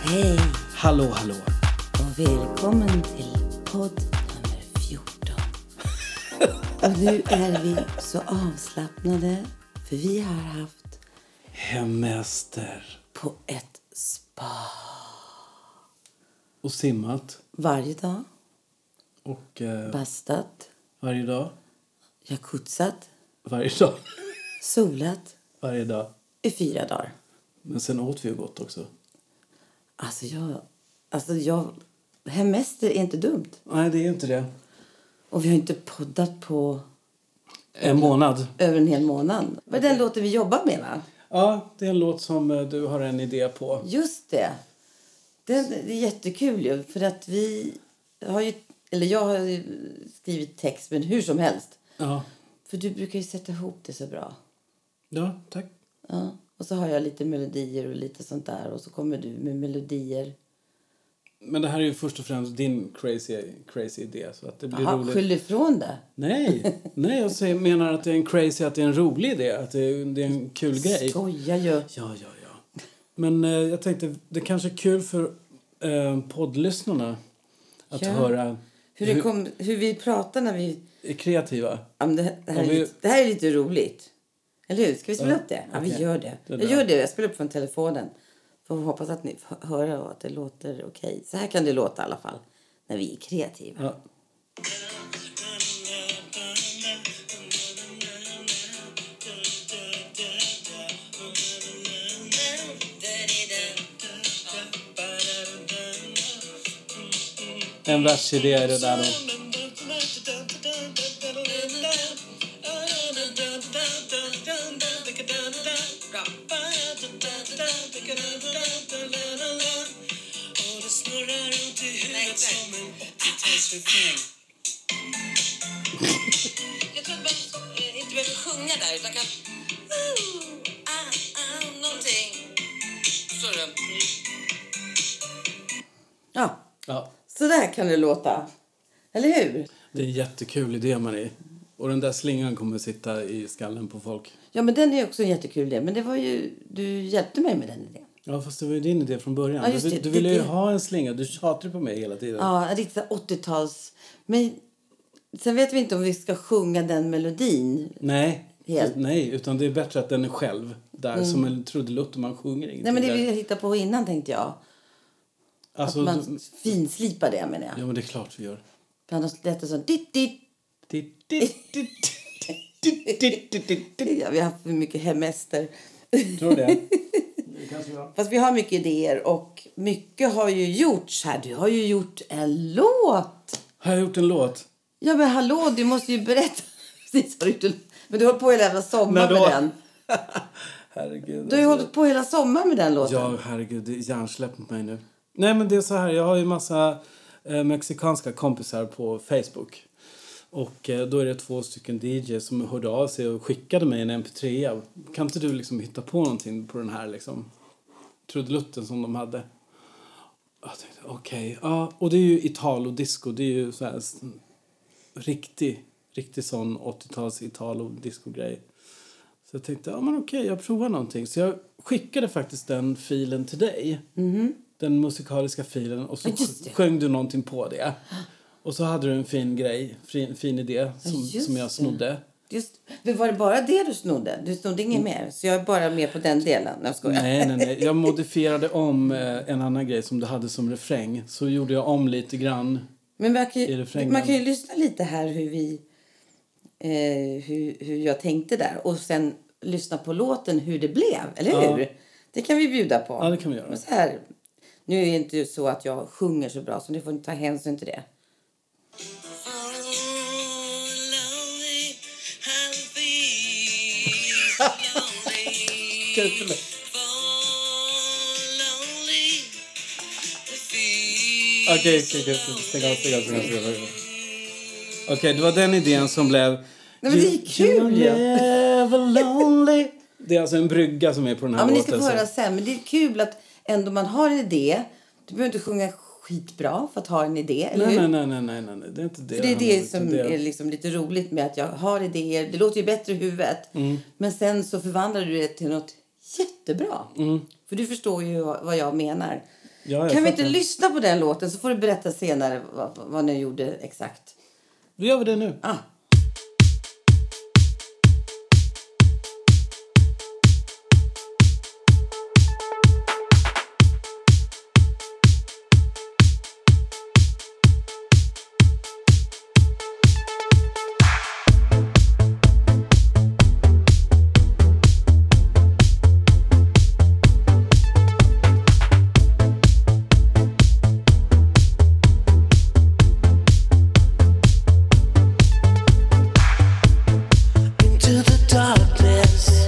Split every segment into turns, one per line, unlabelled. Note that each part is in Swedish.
Hej
Hallå, hallå.
och välkommen till podd nummer 14. Och nu är vi så avslappnade för vi har haft
Hemester.
på ett spa
Och simmat.
varje dag,
Och eh,
bastat,
varje dag.
jacuzzat,
Varje dag.
solat
Varje dag.
i fyra dagar.
Men sen åt vi ju gott också.
Alltså jag, alltså jag, hemester är inte dumt.
Nej, det är inte det.
Och vi har inte poddat på
En månad.
över en hel månad. Var den låten vi jobbar med va?
Ja, det är en låt som eh, du har en idé på.
Just det. Den, det är jättekul ju, för att vi har ju, eller jag har ju skrivit text, men hur som helst.
Ja.
För du brukar ju sätta ihop det så bra.
Ja, tack.
Ja. Och så har jag lite melodier och lite sånt där och så kommer du med melodier.
Men det här är ju först och främst din crazy, crazy idé. Så att det blir
Jaha,
roligt.
skyll ifrån det.
Nej, nej, jag säger, menar att det är en crazy, att det är en rolig idé. Att det är, det är en kul grej.
Skoja ju.
Ja, ja, ja. Men eh, jag tänkte, det kanske är kul för eh, poddlyssnarna att
Ja.
höra
Hur, det kom, hur vi pratar när vi...
är kreativa.
Ja, men det, det, här
Om
är
vi-
lite, det här är lite roligt. Eller hur? Ska vi spela upp det? Ja, vi
okej.
gör det.
Det
Jag
där.
gör det. Jag spelar upp från telefonen. Får hoppas att ni får höra och att det låter okej. Så här kan det låta i alla fall. När vi är kreativa.
Ja. En världsidé är det där då.
Och det snurrar runt i huvudet som en 80-talsrefräng
Jag tror att man eh, inte behöver sjunga där utan kan... Ooh, ah, ah, någonting. Så är det.
Ja,
Ja.
så där kan det låta. Eller hur?
Det är en jättekul idé, Marie. Och den där slingan kommer sitta i skallen på folk.
Ja, men den är också en jättekul idé. Men det var ju... Du hjälpte mig med den idén.
Ja, fast det var ju din idé från början.
Ja, just
du,
det.
du ville
Det-
ju
det-
ha en slinga. Du tjatar ju på mig hela tiden.
Ja, en riktigt så här 80-tals... Men sen vet vi inte om vi ska sjunga den melodin.
Nej.
Helt.
Nej, utan det är bättre att den är själv där som en trudelutt och man sjunger ingenting.
Nej, men det
där.
vill jag hitta på innan tänkte jag.
alltså,
Att
du-
man finslipar det menar jag.
Ja, men det är klart vi gör.
För annars lät det som ditt, ditt. Ja, vi har haft för mycket hemester.
Tror du det? Det kanske vi har.
Fast vi har mycket idéer och mycket har ju gjorts här. Du har ju gjort en låt.
Har jag gjort en låt?
Ja men hallå, du måste ju berätta. Precis, har du gjort en... Men du har hållit på hela jävla sommaren med den.
herregud.
Du har ju hållit på hela sommaren med den låten.
Ja, herregud. Det är hjärnsläpp mot mig nu. Nej, men det är så här. Jag har ju massa eh, mexikanska kompisar på Facebook. Och eh, då är det två stycken DJ som hörde av sig och skickade mig en mp3. Kan inte du liksom hitta på någonting på den här liksom trudelutten som de hade? Jag tänkte, okej. Ja, och det är ju italo-disco. Det är ju så här s- riktig, riktig sån 80-tals italo-disco-grej. Så jag tänkte, ja men okej, jag provar någonting. Så jag skickade faktiskt den filen till dig. Den musikaliska filen. Och så
Mm-hmm. Ja, just det.
sjöng du någonting på det. Och så hade du en fin grej, fin, fin idé som,
just
som jag snodde.
Just, men var det bara det du snodde? Du snodde inget mer? Så jag är bara med på den delen? Nej, jag skojar.
Mm. Nej, nej, nej. Jag modifierade om eh, en annan grej som du hade som refräng. Så gjorde jag om lite grann.
Men man kan,
I
ju,
refrängen.
man kan ju lyssna lite här hur vi... Eh, hur, hur jag tänkte där och sen lyssna på låten hur det blev, eller
Ja.
hur? Det kan vi bjuda på.
Ja, det kan vi göra.
Men så här, nu är det inte så att jag sjunger så bra så ni får inte ta hänsyn till det.
Okej, okej, okej. Stäng av, stäng av, stäng av, stäng av. Okej, det var den idén som blev...
men det är kul
You're
ju.
never lonely. Det är alltså en brygga som är på den här
Ja, men ni
låten.
ska få
så-
höra sen. Men det är kul att ändå man har en idé. Du behöver inte sjunga skitbra för att ha en idé, eller
Nej,
hur?
nej, nej, nej, nej, nej, nej. Det är inte det
För det är
handlar om,
det
utan
som
det
är liksom lite roligt med att jag har idéer. Det låter ju bättre i huvudet.
Mm.
Men sen så förvandlar du det till något jättebra. För du förstår ju vad jag menar.
Mm. Ja, jag
kan vi
fattar.
inte lyssna på den låten så får du berätta senare vad, vad ni gjorde exakt.
Då gör vi det nu.
Ah.
Into the darkness,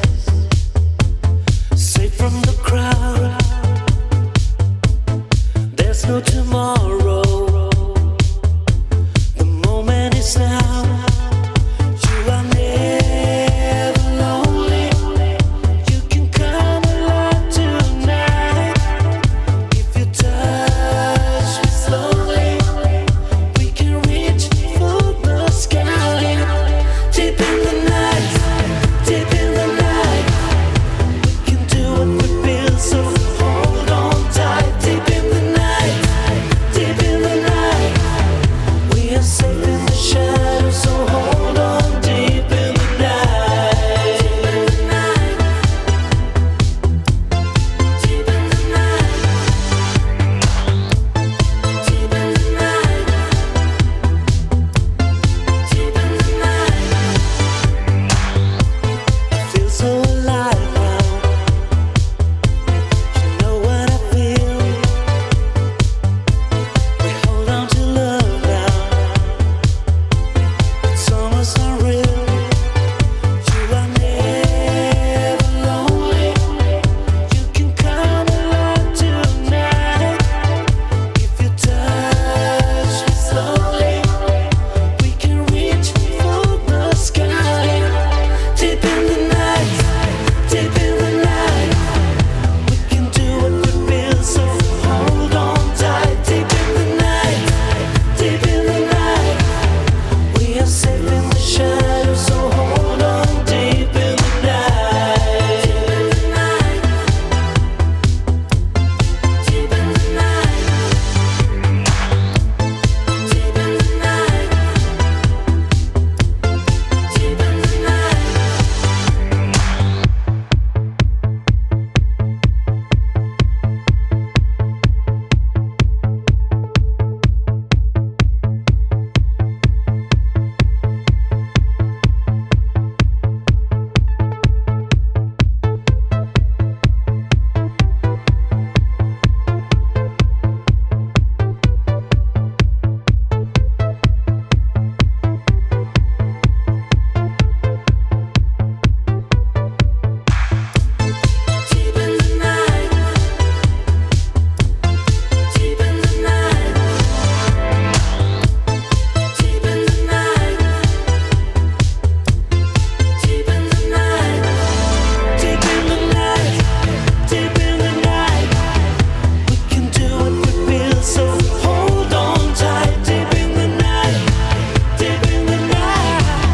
safe from the crowd. There's no tomorrow. The moment is now. You are never lonely. You can come alive tonight if you touch me slowly. We can reach for the sky. Deep in the night, deep in the night. We can do what we feel, so hold on tight. Deep in the night, deep in the night. We are safe in the shadows, so hold on deep in the night. Deep in the night. Deep in the night. Deep in the night. Deep in the night. Feel so alive now. You know what I feel. We hold on to love now. It's almost unreal. You are never lonely. You can come alive tonight if you touch me slowly. We can reach for the sky. Deep in the night, deep in the night. We can do what we feel, so hold on tight. Deep in the night, deep in the night. We are safe in the shadows, so hold on deep in the night. Deep in the night, deep in the night. Deep in the night. Deep in the night. Deep in the night. Deep in the night. Deep in the night. Deep in the night. Deep in the night. Deep in the night. We can do what we feel, so hold on tight. Deep in the night. Deep in the night.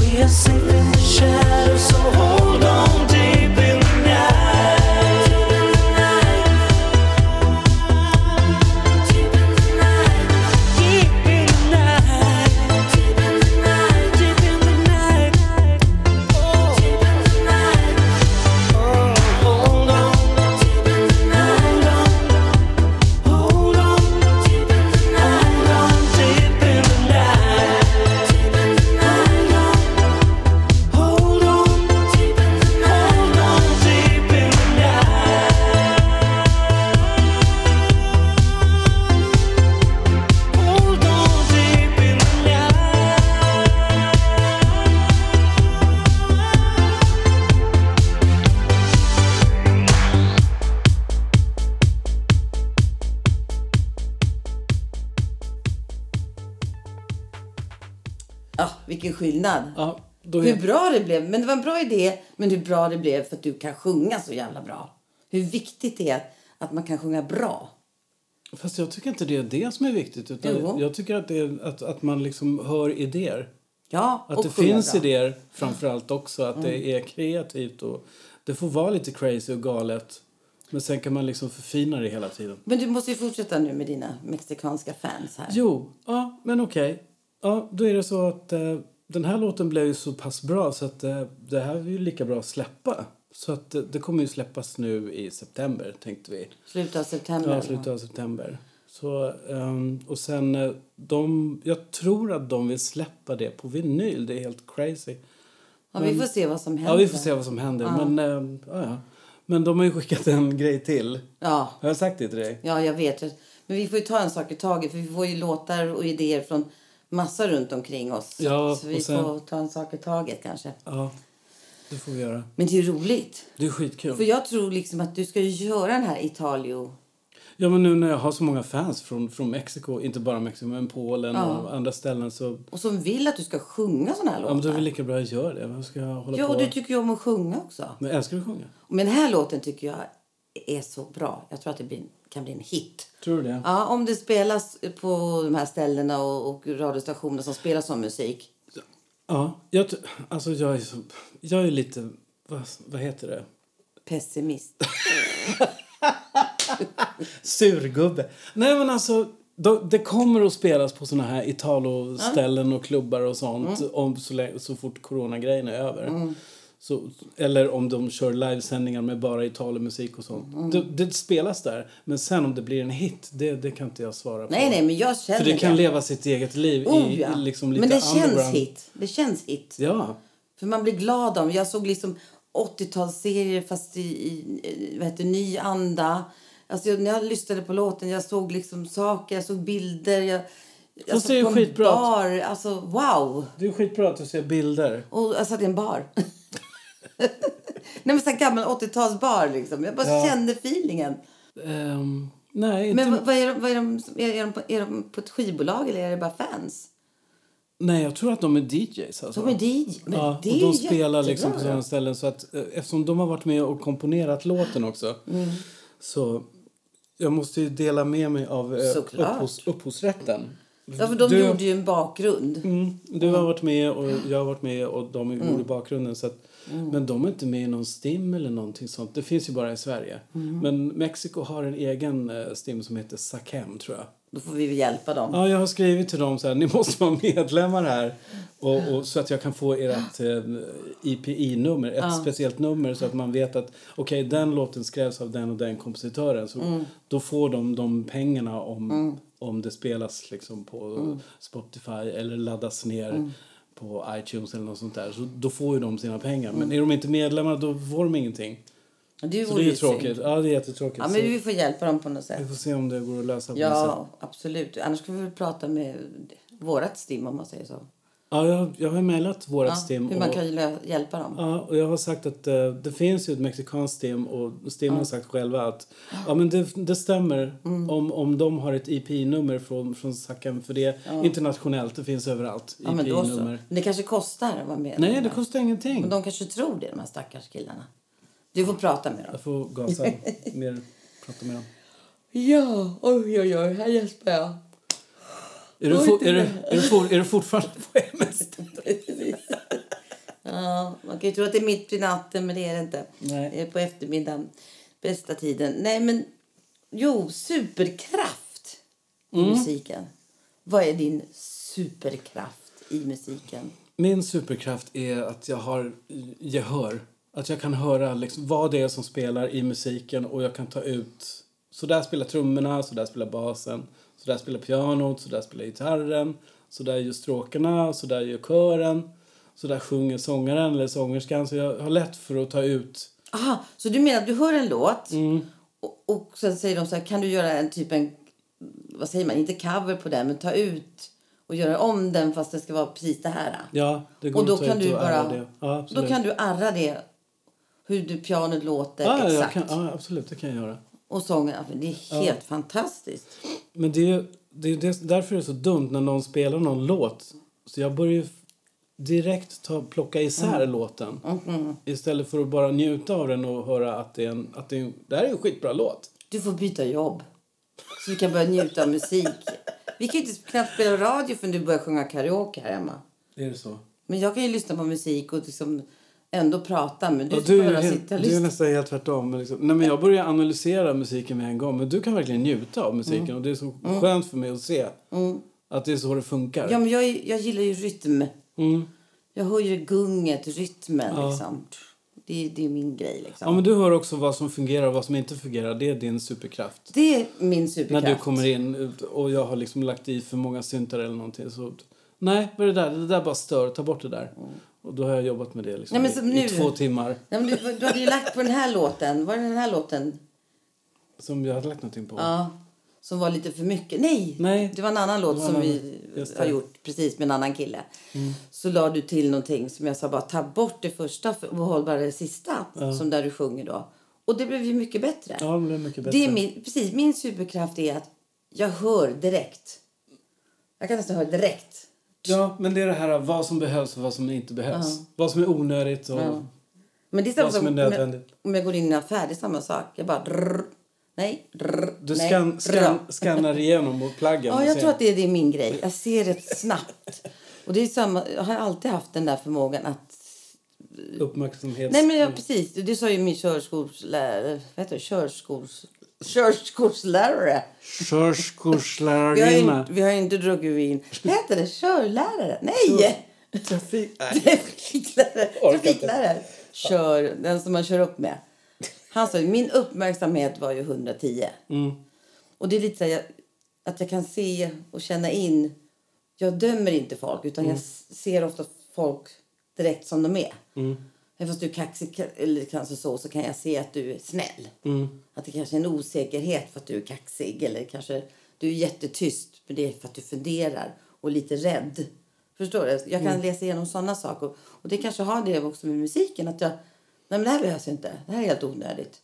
We are safe in the shadows, so hold on deep in the night. Deep in the night. Deep in the night. Deep in the night. Deep in the night. Deep in the night. Oh. Deep in the night. Oh, hold on. Deep in the night. Hold on. Deep in the night. Hold on. Deep in the night. Deep in the night. Hold on. Hold on, deep in the night. Hold on, deep in the night. Hold on, deep in the night.
Ja, ah, vilken skillnad.
Ja, då
Hur
är...
bra det blev. Men det var en bra idé. Men hur bra det blev för att du kan sjunga så jävla bra. Hur viktigt det är att, att man kan sjunga bra.
Fast jag tycker inte det är det som är viktigt. Utan
Jo.
Jag tycker att, det är, att, att man liksom hör idéer.
Ja,
Att
och
det
sjunga
finns
bra. Mm.
idéer framför allt också. Att det är kreativt och det får vara lite crazy och galet. Men sen kan man liksom förfina det hela tiden.
Men du måste ju fortsätta nu med dina mexikanska fans här.
Jo, ja, men okej. Ja, då är det så att eh, den här låten blev ju så pass bra så att eh, det här är ju lika bra att släppa. Så att eh, det kommer ju släppas nu i september, tänkte vi.
Slutet av september.
Ja, slutet av september. Så, ehm, och sen, eh, de, jag tror att de vill släppa det på vinyl. Det är helt crazy.
ja, vi får se vad som händer.
Ja, vi får se vad som händer. Men, ehm, ja, ja. Men de har ju skickat en grej till.
Ja,
Har jag sagt det till dig?
ja, jag vet. Men vi får ju ta en sak i taget för vi får ju låtar och idéer från massa runt omkring oss.
Ja,
så vi
och sen-
får ta en sak i taget kanske.
Ja, det får vi göra.
Men det är ju roligt.
Det är skitkul.
För jag tror liksom att du ska ju göra den här Italio...
Ja, men nu när jag har så många fans från, från Mexiko, inte bara Mexiko, men Polen och andra ställen så...
Och som vill att du ska sjunga såna här
Ja, men då är det
låtar.
lika bra att jag gör det. Vad ska jag hålla
Ja,
på?
och du tycker ju om att sjunga också.
Men jag älskar att sjunga.
Men den här låten tycker jag är så bra. Jag tror att det blir, kan bli en hit.
Tror du det?
Ja, om det spelas på de här ställena och, och radiostationerna som spelar sån musik.
Ja. Jag, t- alltså, jag är så... Jag är lite... Vad, vad heter det?
Pessimist.
Surgubbe. Nej, men alltså... då- Det kommer att spelas på såna här Italo-ställen och klubbar och sånt
Mm.
om så, lä- så fort coronagrejen är över. Så, eller om de kör livesändningar med bara Italo-musik och sånt.
Mm.
Det, det spelas där, men sen om det blir en hit, det, det kan inte jag svara på.
Nej, nej, men jag känner
För det kan leva sitt eget liv
Oh,
i,
ja.
i liksom lite
men det känns
underground.
hit. Det känns hit.
Ja.
För man blir glad av Jag såg liksom 80-talsserier fast i, i eh, vad heter, det, ny anda. Alltså jag, när jag lyssnade på låten, jag såg liksom saker, jag såg bilder. Jag, jag
Fast
satt
det är ju
på en
skitbra att-
Bar, alltså wow!
Det är skitbra att du ser bilder.
Och jag satt i en bar. Nej men så här gammal 80-talsbar liksom. Jag bara
Ja.
kände feelingen.
Ehm, nej, inte...
Men vad, vad är de, vad är de, som- är, är, de på, är de på ett skivbolag eller är det bara fans?
nej, jag tror att de är DJs. Alltså.
De är DJ. Men
Ja,
det
och
är ju
de spelar liksom
jättebra.
på sådana ställen. Så att, eh, eftersom de har varit med och komponerat låten också
Mm.
så jag måste ju dela med mig av eh,
Såklart.
upphovs, upphovsrätten.
Ja, för de
Du-
gjorde ju en bakgrund.
Mm, du har varit med och jag har varit med och de gjorde
Mm.
bakgrunden. Så att, Men de är inte med i någon STIM eller någonting sånt. Det finns ju bara i Sverige.
Mm.
Men Mexiko har en egen eh, STIM som heter SACEM tror jag.
Då får vi väl hjälpa dem.
Ja, jag har skrivit till dem så här, ni måste vara medlemmar här. Och, och, så att jag kan få ert eh, IPI-nummer, ett speciellt nummer så att man vet att okej, den låten skrevs av den och den kompositören. Så
Mm.
Då får de de pengarna om, om det spelas liksom på
Mm.
Spotify eller laddas ner på iTunes eller något sånt där. Så då får ju de sina pengar. Men är de inte medlemmar då får de ingenting.
Mm. Det
Så
vore
det är ju
ju synd.
tråkigt. Ja, det är jättetråkigt.
Ja,
Så Mm.
men vi får hjälpa dem på något
Vi
sätt.
får se om det går att lösa på något sätt.
Ja, absolut. Annars kan vi väl prata med vårat STIM om man säger så.
Ja, jag, jag har mejlat vårt
Ja,
STIM.
hur
och-
man kan lö- hjälpa dem.
Ja, och jag har sagt att eh, det finns ju ett mexikanskt STIM och STIM har sagt själva att ja, men det, det stämmer
Mm.
om, om de har ett IP-nummer från, från Sacken för det är internationellt, det finns överallt.
Ja, men då så.
IP-nummer.
Men Det kanske kostar att vara med.
Nej, det kostar ingenting.
Men de kanske tror det, de här stackars killarna. Du får prata med dem.
Jag får gasa mer, prata med dem.
Ja, oj, oj, oj. Här gäspar jag.
Är du,
Oj,
for,
det
är, du,
där.
är, du for, är du fortfarande på MST?
Precis. Ja, man kan ju tro att det är mitt i natten, men det är det inte.
Nej.
Det är på eftermiddagen, bästa tiden. Nej, men jo, superkraft i musiken. Vad är din superkraft i musiken?
Min superkraft är att jag har gehör. Att jag kan höra liksom vad det är som spelar i musiken och jag kan ta ut... Så där spelar trummorna, så där spelar basen, så där spelar pianot, så där spelar gitarren, så där gör stråkarna, så där gör kören, så där sjunger sångaren eller sångerskan. Så jag har lätt för att ta ut...
Aha, så du menar att du hör en låt och, och sen säger de så här, kan du göra en typ en, vad säger man, inte cover på den, men ta ut och göra om den fast det ska vara precis det här.
Ja, det går
Och då
att ta
kan
ut
du
och ära
bara
Det. Ja,
då
absolut.
kan du arra det hur du pianot låter
ja, jag
exakt.
kan, ja, absolut, det kan jag göra.
Och sången, ja, det är helt fantastiskt.
Men det är ju det är det, därför är det så dumt när någon spelar någon låt. Så jag börjar ju f- direkt ta, plocka isär
Mm.
låten. Istället för att bara njuta av den och höra att det är en, att det är en, det här är en skitbra låt.
Du får byta jobb så vi kan börja njuta av musik. Vi kan ju inte knappt spela radio förrän du börjar sjunga karaoke här hemma.
Är det så?
Men jag kan ju lyssna på musik och liksom ändå prata men du
Ja,
ska
du, är
bara
ju helt,
sitta och
du är
lyssna.
nästan helt tvärtom. Men liksom, nej, men jag börjar analysera musiken med en gång. Men du kan verkligen njuta av musiken.
Mm.
Och det är så skönt för mig att se att det är så det funkar.
Ja, men jag, är- jag gillar ju rytm.
Mm.
Jag hör ju gunget, rytmen liksom. Det, är- det är min grej liksom.
Ja, men du hör också vad som fungerar och vad som inte fungerar. Det är din superkraft.
Det är min superkraft.
När du kommer in och jag har liksom lagt i för många syntar eller någonting så... Nej, vad är det där? Det där bara stör. Ta bort det där. Och då har jag jobbat med det liksom
Mm. Nej, men som
i,
nu.
i två timmar.
Nej, men du, du hade ju lagt på den här låten. Var det den här låten?
Som jag hade lagt någonting på.
Ja. Som var lite för mycket. Nej!
Nej.
Det var en annan låt
Det var
som
en
vi
annan. Just det. Mm.
har gjort precis med en annan kille. Så la du till någonting som jag sa bara ta bort det första och behåll bara det sista. Som där du sjunger då. Och det blev ju mycket bättre.
Ja, det blev mycket bättre.
Det är min, precis, min superkraft är att jag hör direkt. Jag kan nästan höra direkt.
Ja, men det är det här vad som behövs och vad som inte behövs. Vad som är onödigt och...
Men det är samma
Vad som är
sak om jag-
nödvändigt.
Om jag går in i en affär, det är samma sak. Jag bara... Drr, nej, drr,
Du
nej,
skan,
drr.
skan, skannar igenom mot plaggen.
Ja,
och
jag
ser-
tror att det är, det är min grej. Jag ser det snabbt. Och det är samma, jag har alltid haft den där förmågan att...
Uppmärksamhets...
Nej, men jag, precis. Du sa ju min körskolslärare... Vad heter det? Körskols... Körskolslärare. Vi har, ju,
Körskolslärarna.
vi har ju inte druckit vin. Heter det körlärare? Nej!
Trafik... Nej.
Trafiklärare.
Orkar inte.
Trafiklärare. Kör, den som man kör upp med. Han sa ju, min uppmärksamhet var ju 110. Och det är lite så här, jag, att jag kan se och känna in. Jag dömer inte folk utan jag s- ser ofta folk direkt som de är. Mm. Även fast du är kaxig ka- eller kanske så, så kan jag se att du är snäll. Att det kanske är en osäkerhet för att du är kaxig eller kanske du är jättetyst men det är för att du funderar och är lite rädd. Förstår du? Jag kan läsa igenom sådana saker. Och det kanske har det också med musiken att jag, nej men det här behövs inte. Det här är helt onödigt.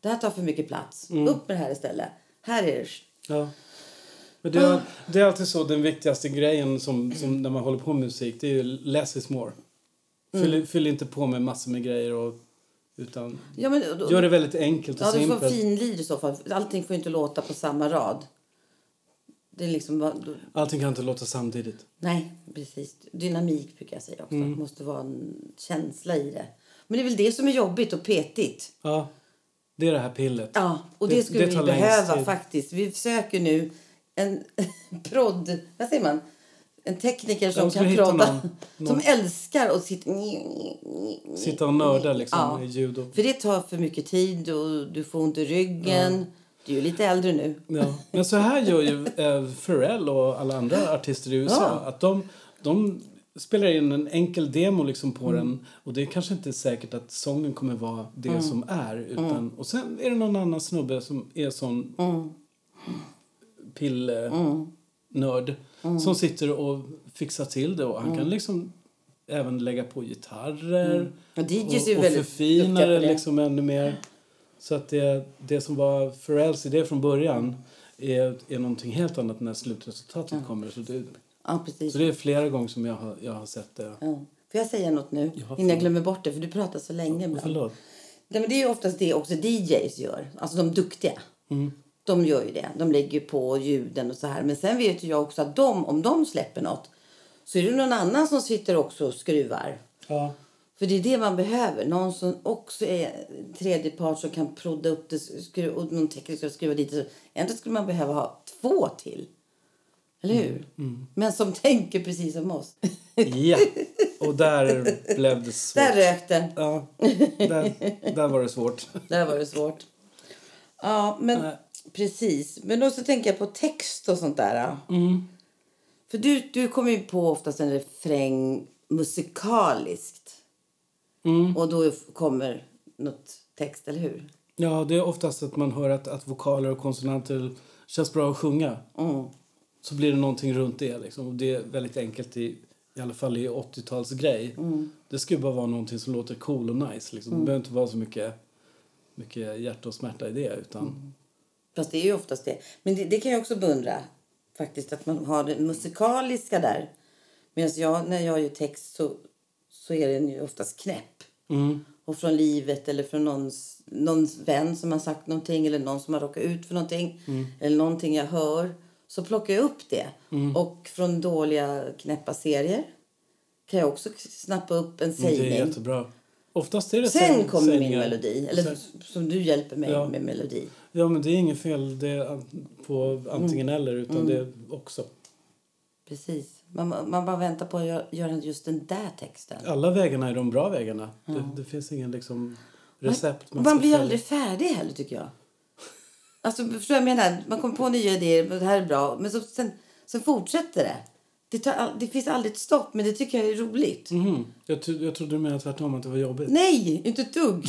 Det här tar för mycket plats.
Mm.
Upp med det här istället. Här är det
Ja. Men det, är, det är alltid så, den viktigaste grejen som, som när man håller på med musik, det är ju less is more.
Mm.
Fyll, fyll inte på med massor med grejer och... Utan...
Ja, men, då,
Gör det väldigt enkelt och
ja, du får
simpelt.
finlir i så fall. Allting får ju inte låta på samma rad. Det är liksom... bara- då-
Allting kan inte låta samtidigt.
Nej, precis. Dynamik brukar jag säga också.
Mm.
Det måste vara en känsla i det. Men det är väl det som är jobbigt och petigt.
Ja. Det är det här pillet.
Ja, och det,
Det-
skulle
det tar
vi
längst
behöva
tid.
faktiskt. Vi söker nu en prodd... Vad säger man? En tekniker som
Ja, ska vi
kan
hitta
prodda.
någon- någon-
Som älskar och sitta...
Sitta och nörda liksom
Ja.
i ljud och...
För det tar för mycket tid och du får ont i ryggen. Du är ju lite äldre nu.
Ja. Men så här gör ju eh, Pharrell och alla andra artister i USA.
Ja.
Att de, de spelar in en enkel demo liksom på den och det är kanske inte säkert att sången kommer vara det som är. Utan, Och sen är det någon annan snubbe som är sån pillnörd
Mm.
som sitter och fixar till det och han kan liksom även lägga på gitarrer
Och DJs är ju
och, och
väldigt
förfina
duktiga på
det
det.
liksom ännu mer. Så att det, det som var Pharrells idé från början är, är någonting helt annat när slutresultatet kommer. Så det,
Ja, precis.
så det är flera gånger som jag har, jag har sett det.
Ja. Får jag säga något nu? Innan jag
förlåt.
glömmer bort det, för du pratar så länge ibland.
Förlåt.
Nej, men det är ju oftast det också DJs gör, alltså de duktiga. De gör ju det. De lägger på ljuden och så här. Men sen vet ju jag också att de, om de släpper något så är det någon annan som sitter också och skruvar.
Ja.
För det är det man behöver. Någon som också är tredje part som kan prodda upp det skru- och någon tekniker som skruva dit. det. Egentligen skulle man behöva ha två till. Eller hur? Men som tänker precis som oss.
ja. Och där blev det svårt.
Där rökte.
Ja, där, där var det svårt.
Där var det svårt. Ja, men
Nej.
precis. Men då så tänker jag på text och sånt där. ja. För du, du kommer ju på oftast en refräng musikaliskt. Och då kommer något text, eller hur?
Ja, det är oftast att man hör att, att vokaler och konsonanter känns bra att sjunga.
Mm.
Så blir det någonting runt det. Liksom. Och det är väldigt enkelt, i, i alla fall i 80-talsgrej.
Mm.
Det ska ju bara vara någonting som låter cool och nice. Liksom. Det behöver inte vara så mycket, mycket hjärta och smärta i det. Utan,
Mm. Fast det är ju oftast det. Men det, det kan jag också beundra. Faktiskt att man har det musikaliska där. Medan jag, när jag gör text så, så är den ju oftast knäpp.
Mm.
Och från livet eller från någons, någons vän som har sagt någonting eller någon som har råkat ut för någonting.
Mm.
Eller någonting jag hör. Så plockar jag upp det.
Mm.
Och från dåliga knäppa serier kan jag också snappa upp en
det är
sägning.
jättebra. Oftast är det
Sen
säng-
kommer min
sängar.
melodi. Eller
Sen-
som du hjälper mig
Ja.
med melodi.
Ja, men det är inget fel det är an- på antingen
Mm.
eller, utan det är också.
Precis. Man, man bara väntar på att gö- göra just den där texten.
Alla vägarna är de bra vägarna. Det, det finns ingen liksom recept.
Man,
ska
man blir
följa.
aldrig färdig heller tycker jag. Alltså förstår jag vad jag menar? Man kommer på nya idéer, men det här är bra. Men så, sen, sen fortsätter det. Det, tar, all- det finns aldrig ett stopp, men det tycker jag är roligt.
Mhm. Jag, tro- jag trodde du menade tvärtom, att det var jobbigt.
Nej, inte ett dugg.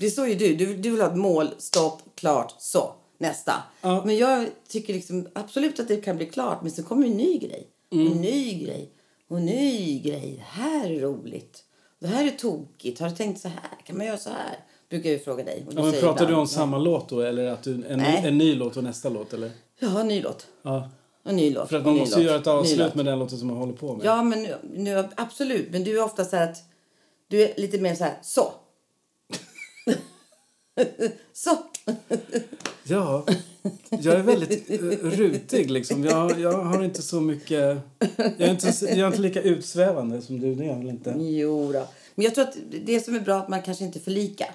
Det är så ju du. du. Du vill ha ett mål, stopp, klart, så. Nästa.
Ja.
Men jag tycker liksom absolut att det kan bli klart. Men så kommer en ny grej. Och
Mm.
en ny grej. Och en ny grej. Det här är roligt. Det här är tokigt. Har du tänkt så här? Kan man göra så här? Brukar jag ju fråga dig. Och
Ja, men
säger
pratar du
ibland,
om samma låt då, eller att du, en,
Nej.
en ny låt och nästa låt? Eller?
Ja, en ny låt.
Ja.
Och en ny låt.
För att
och en
man
ny
måste
låt.
ju göra ett
Ny
avslut
låt.
med den låten som man håller på med.
Ja, men nu, nu, absolut. Men du är ofta så här att... Du är lite mer så här, så. så.
Ja, jag är väldigt eh, rutig liksom. Jag, jag har inte så mycket... Jag är inte, så- jag är inte lika utsvävande som du, det är jag väl inte.
Jo då. Men jag tror att det som är bra är att man kanske inte är för lika.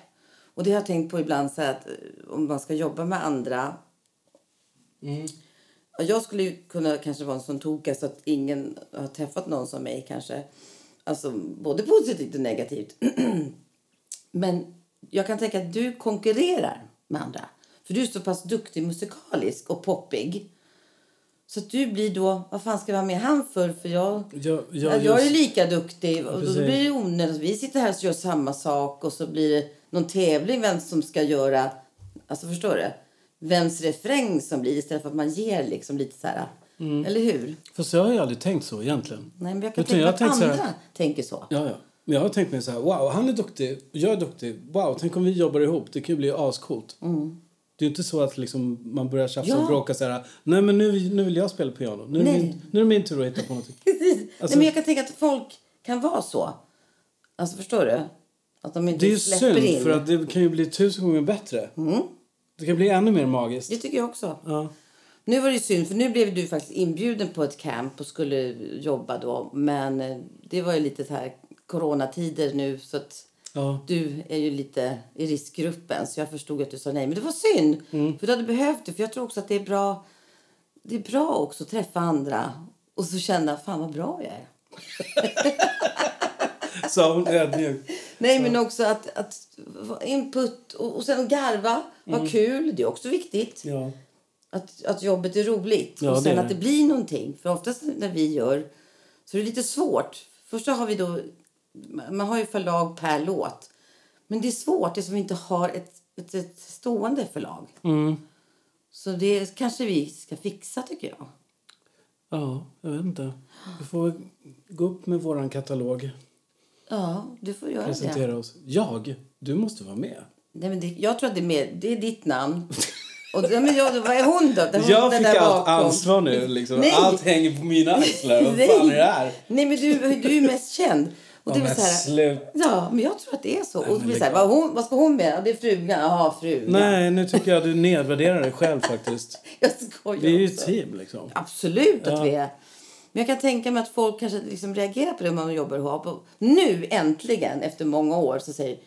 Och det har jag tänkt på ibland så här att eh, om man ska jobba med andra. Och jag skulle ju kunna kanske vara en sån toka så att ingen har träffat någon som mig kanske. Alltså både positivt och negativt. Men jag kan tänka att du konkurrerar med andra. För du är så pass duktig musikalisk och poppig. Så att du blir då, vad fan ska vi ha med han för? För jag...
Jag,
Ja,
jag,
jag är
just,
lika duktig. Och då
precis.
blir det onödigt. Vi sitter här och gör samma sak och så blir det någon tävling vem som ska göra... Alltså förstår du? Vems refräng som blir istället för att man ger liksom lite så här...
Mm.
Eller hur?
fast jag har ju aldrig tänkt så egentligen.
Nej, men jag kan
Utan
tänka
jag
att
tänker så här-
andra tänker så.
Ja, ja. Men jag har tänkt mig så här, wow, han är duktig, jag är duktig, wow, tänk om vi jobbar ihop, det kan ju bli ascoolt. Det är ju inte så att liksom man börjar tjafsa
Mm. Ja.
och bråka så här, nej men nu, nu vill jag spela piano, nu är, det
Nej.
min, nu är det min tur att hitta på någonting.
Nej,
Alltså-
men jag kan tänka att folk kan vara så. Alltså förstår du? Att de inte
Det är ju
släpper
synd,
in. Mm.
för att det kan ju bli tusen gånger bättre. Det kan bli ännu mer magiskt.
Det tycker jag också.
Ja.
Nu var det ju synd, för nu blev du faktiskt inbjuden på ett camp och skulle jobba då. Men eh, det var ju lite så här coronatider nu så att
Ja.
du är ju lite i riskgruppen. Så jag förstod att du sa nej. Men det var synd, för du hade behövt det. För jag tror också att det är bra, det är bra också att träffa andra och så känna fan vad bra jag är.
Sa hon ödmjukt.
Nej, men också att, att vara input och, och sen garva, vara kul. Det är också viktigt.
Ja.
Att, att jobbet är roligt
Ja,
och
det
sen
är
att
det.
det blir någonting. För oftast när vi gör så är det lite svårt. Först så har vi då, man har ju förlag per låt. Men det är svårt eftersom vi inte har ett, ett, ett stående förlag.
Mm.
Så det kanske vi ska fixa tycker jag.
ja, jag vet inte. Vi får gå upp med våran katalog,
Ja, du får göra det.
presentera oss. Jag? Du måste vara med.
Nej, men det. Jag tror att det är, mer, det är ditt namn. Och, ja, men jag, vad är hon då? Den- den
Jag fick
där
allt
bakom.
ansvar nu. Liksom.
Nej.
Allt hänger på mina axlar. Vad fan är det här?
Nej, men du, du är mest känd. Och
Ja,
det är väl
men
så här,
slut.
Ja, men jag tror att det är så. och
men
det blir
lägg
så här,
av.
vad, hon, vad ska hon med? Ja, Det är frugan. Jaha, frugan.
Nej, nu tycker jag du nedvärderar dig själv faktiskt.
Jag skojar
Vi är ju ett
också.
team liksom.
Absolut att vi är. Men jag kan tänka mig att folk kanske liksom reagerar på det om man jobbar ihop. Och nu äntligen, efter många år, så säger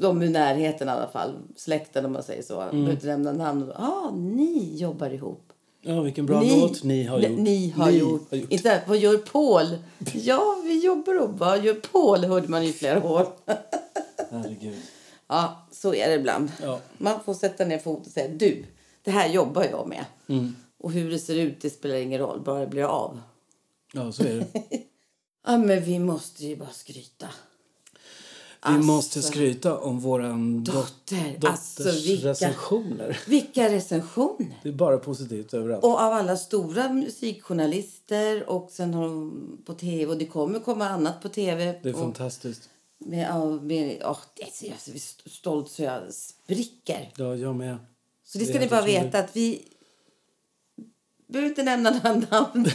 de i närheten i alla fall, släkten om man säger så, mm. behöver inte nämna namn. Ja, ah, ni jobbar ihop.
Ja, vilken bra låt ni har
Nej,
gjort.
Ni har gjort. Inte, vad gör Paul? Ja, vi jobbar ihop. Vad gör Paul? Hörde man i flera år.
Herregud.
Ja, så är det ibland.
Ja.
Man får sätta ner foten och säga du, det här jobbar jag med.
Mm.
Och hur det ser ut det spelar ingen roll, bara det blir av.
Ja, så är det.
Ja, men vi måste ju bara skryta.
Vi måste skryta om våran dot-
Alltså. Dotter,
dotters
alltså vilka-
recensioner.
Vilka recensioner!
Det är bara positivt överallt.
Och av alla stora musikjournalister och sen har de på tv och det kommer komma annat på tv.
det är
och
fantastiskt.
med, ja, med, oh, det är så, jag är så st- stolt så jag spricker.
Ja, jag med.
Så det
Det
ska ni
är alltså helt
bara
otroligt.
veta att vi... behöver inte nämna några namn.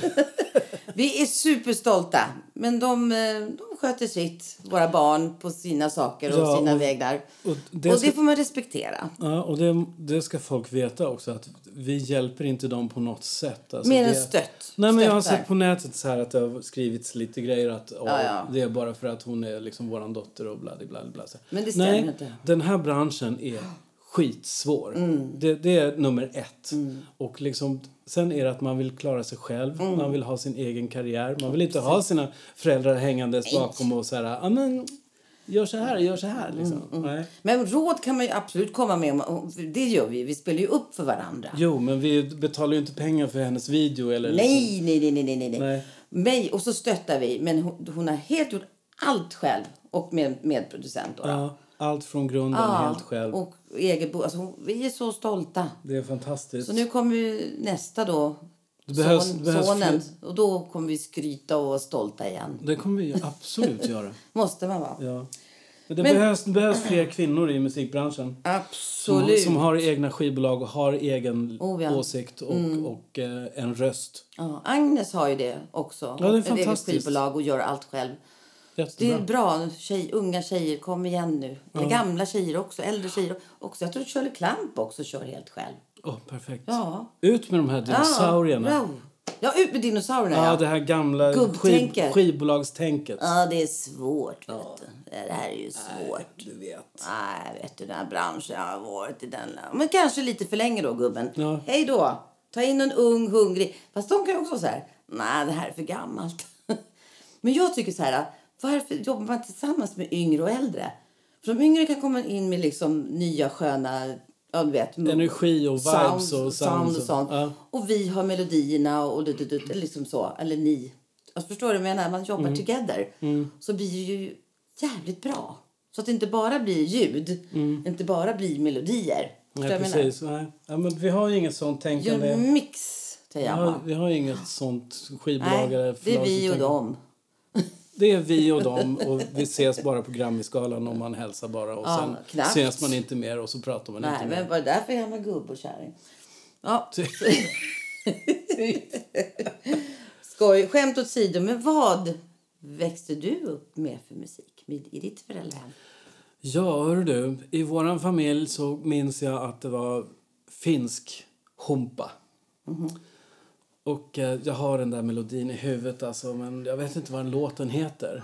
vi är superstolta. Men de, eh, de sköter sitt, våra barn, på sina saker och
Ja,
sina
och-
vägar.
och
Och
det
det,
ska-
får man respektera.
Ja, och det, det ska folk veta också att vi hjälper inte dem på något sätt. Alltså,
Mer
det-
än stött.
Nej, men jag har
Stöttar.
sett på nätet så här att det har skrivits lite grejer att åh,
Ja, ja.
det är bara för att hon är liksom våran dotter och bla, bla, bla, bla. så här.
Men det stämmer
Nej,
inte. Mm.
den här branschen är skitsvår. Det, det är nummer ett. Och liksom, sen är det att man vill klara sig själv,
Mm.
man vill ha sin egen karriär, man vill inte ha sina föräldrar hängandes bakom och så här, ah, men gör så här, gör så här
Mm,
liksom. Nej.
Men råd kan man ju absolut komma med. om- och Det gör vi. Vi spelar ju upp för varandra.
Jo, men vi betalar ju inte pengar för hennes video eller liksom-
Nej, nej, nej, nej, nej, nej.
Nej.
Mig, och så stöttar vi. Men hon, hon har helt gjort allt själv. Och med medproducent. Då.
Ja, allt från grunden, helt själv.
Och eget bo. Alltså, hon- vi är så stolta.
Det är fantastiskt.
Så nu kommer ju nästa då.
Det behövs-
son,
det behövs
sonen. Och då kommer vi skryta och vara stolta igen.
Det kommer vi ju absolut göra.
Måste man vara.
Ja. Men det
Men-
Behövs, det behövs fler kvinnor i musikbranschen. Som,
Absolut.
som har egna skivbolag och har egen
Oh, ja. Mm.
åsikt och, och eh, en röst.
Ja, Agnes har ju det också.
Ja, det är
Ett eget
fantastiskt.
skivbolag och gör allt själv. Det
Jättebra.
är bra. Tjej, unga tjejer, kom igen nu. Eller gamla tjejer också, äldre tjejer också. Jag tror att Shirley Clamp också kör helt själv.
Åh, perfekt.
Ja.
Ut med de här dinosaurierna.
Ja,
Ja,
bra. ja ut med dinosaurierna. Ja,
det här gamla skiv,
Gubbtänket.
skivbolagstänket.
ja det är svårt. Vet du. Det här är ju svårt.
Du vet.
Nej, vet du, den här branschen har varit i den. Men kanske lite för länge då, gubben.
Ja.
Hej då! Ta in en ung, hungrig. Fast de kan ju också vara så här. Nej, det här är för gammalt. Men jag tycker så här. Varför jobbar man tillsammans med yngre och äldre? För de yngre kan komma in med liksom nya sköna, ja du vet.
Energi och vibes
sound,
och sound
sound
och-
och sånt.
ja.
Och vi har melodierna och du, du, du, eller liksom så. Eller ni. Alltså, förstår du vad jag menar? Man jobbar
Mm.
together. Så blir det ju jävligt bra. Så att det inte bara blir ljud. Inte bara blir melodier. Förstår jag
Nej,
vad jag menar?
precis. Nej. Mm. Ja, men vi har ju inget sånt
Gör
tänkande.
en mix, säger jag
Vi har,
bara.
vi har inget sånt skivbolag
Nej,
eller
det är
förlag som
vi och
tänker-
dem.
Det är vi och dem och vi ses bara på Grammisgalan och man hälsar bara och
Ja,
sen
knappt.
ses man inte mer och så pratar man
Nej,
inte
men
mer.
vad är det där för gammal gubbe och kärring? Ja. Skoj. Skämt åsido, men vad växte du upp med för musik med- i ditt föräldrahem?
Ja, hör du. I våran familj så minns jag att det var finsk humpa.
Mhm.
Och eh, jag har den där melodin i huvudet alltså, men jag vet inte vad den låten heter.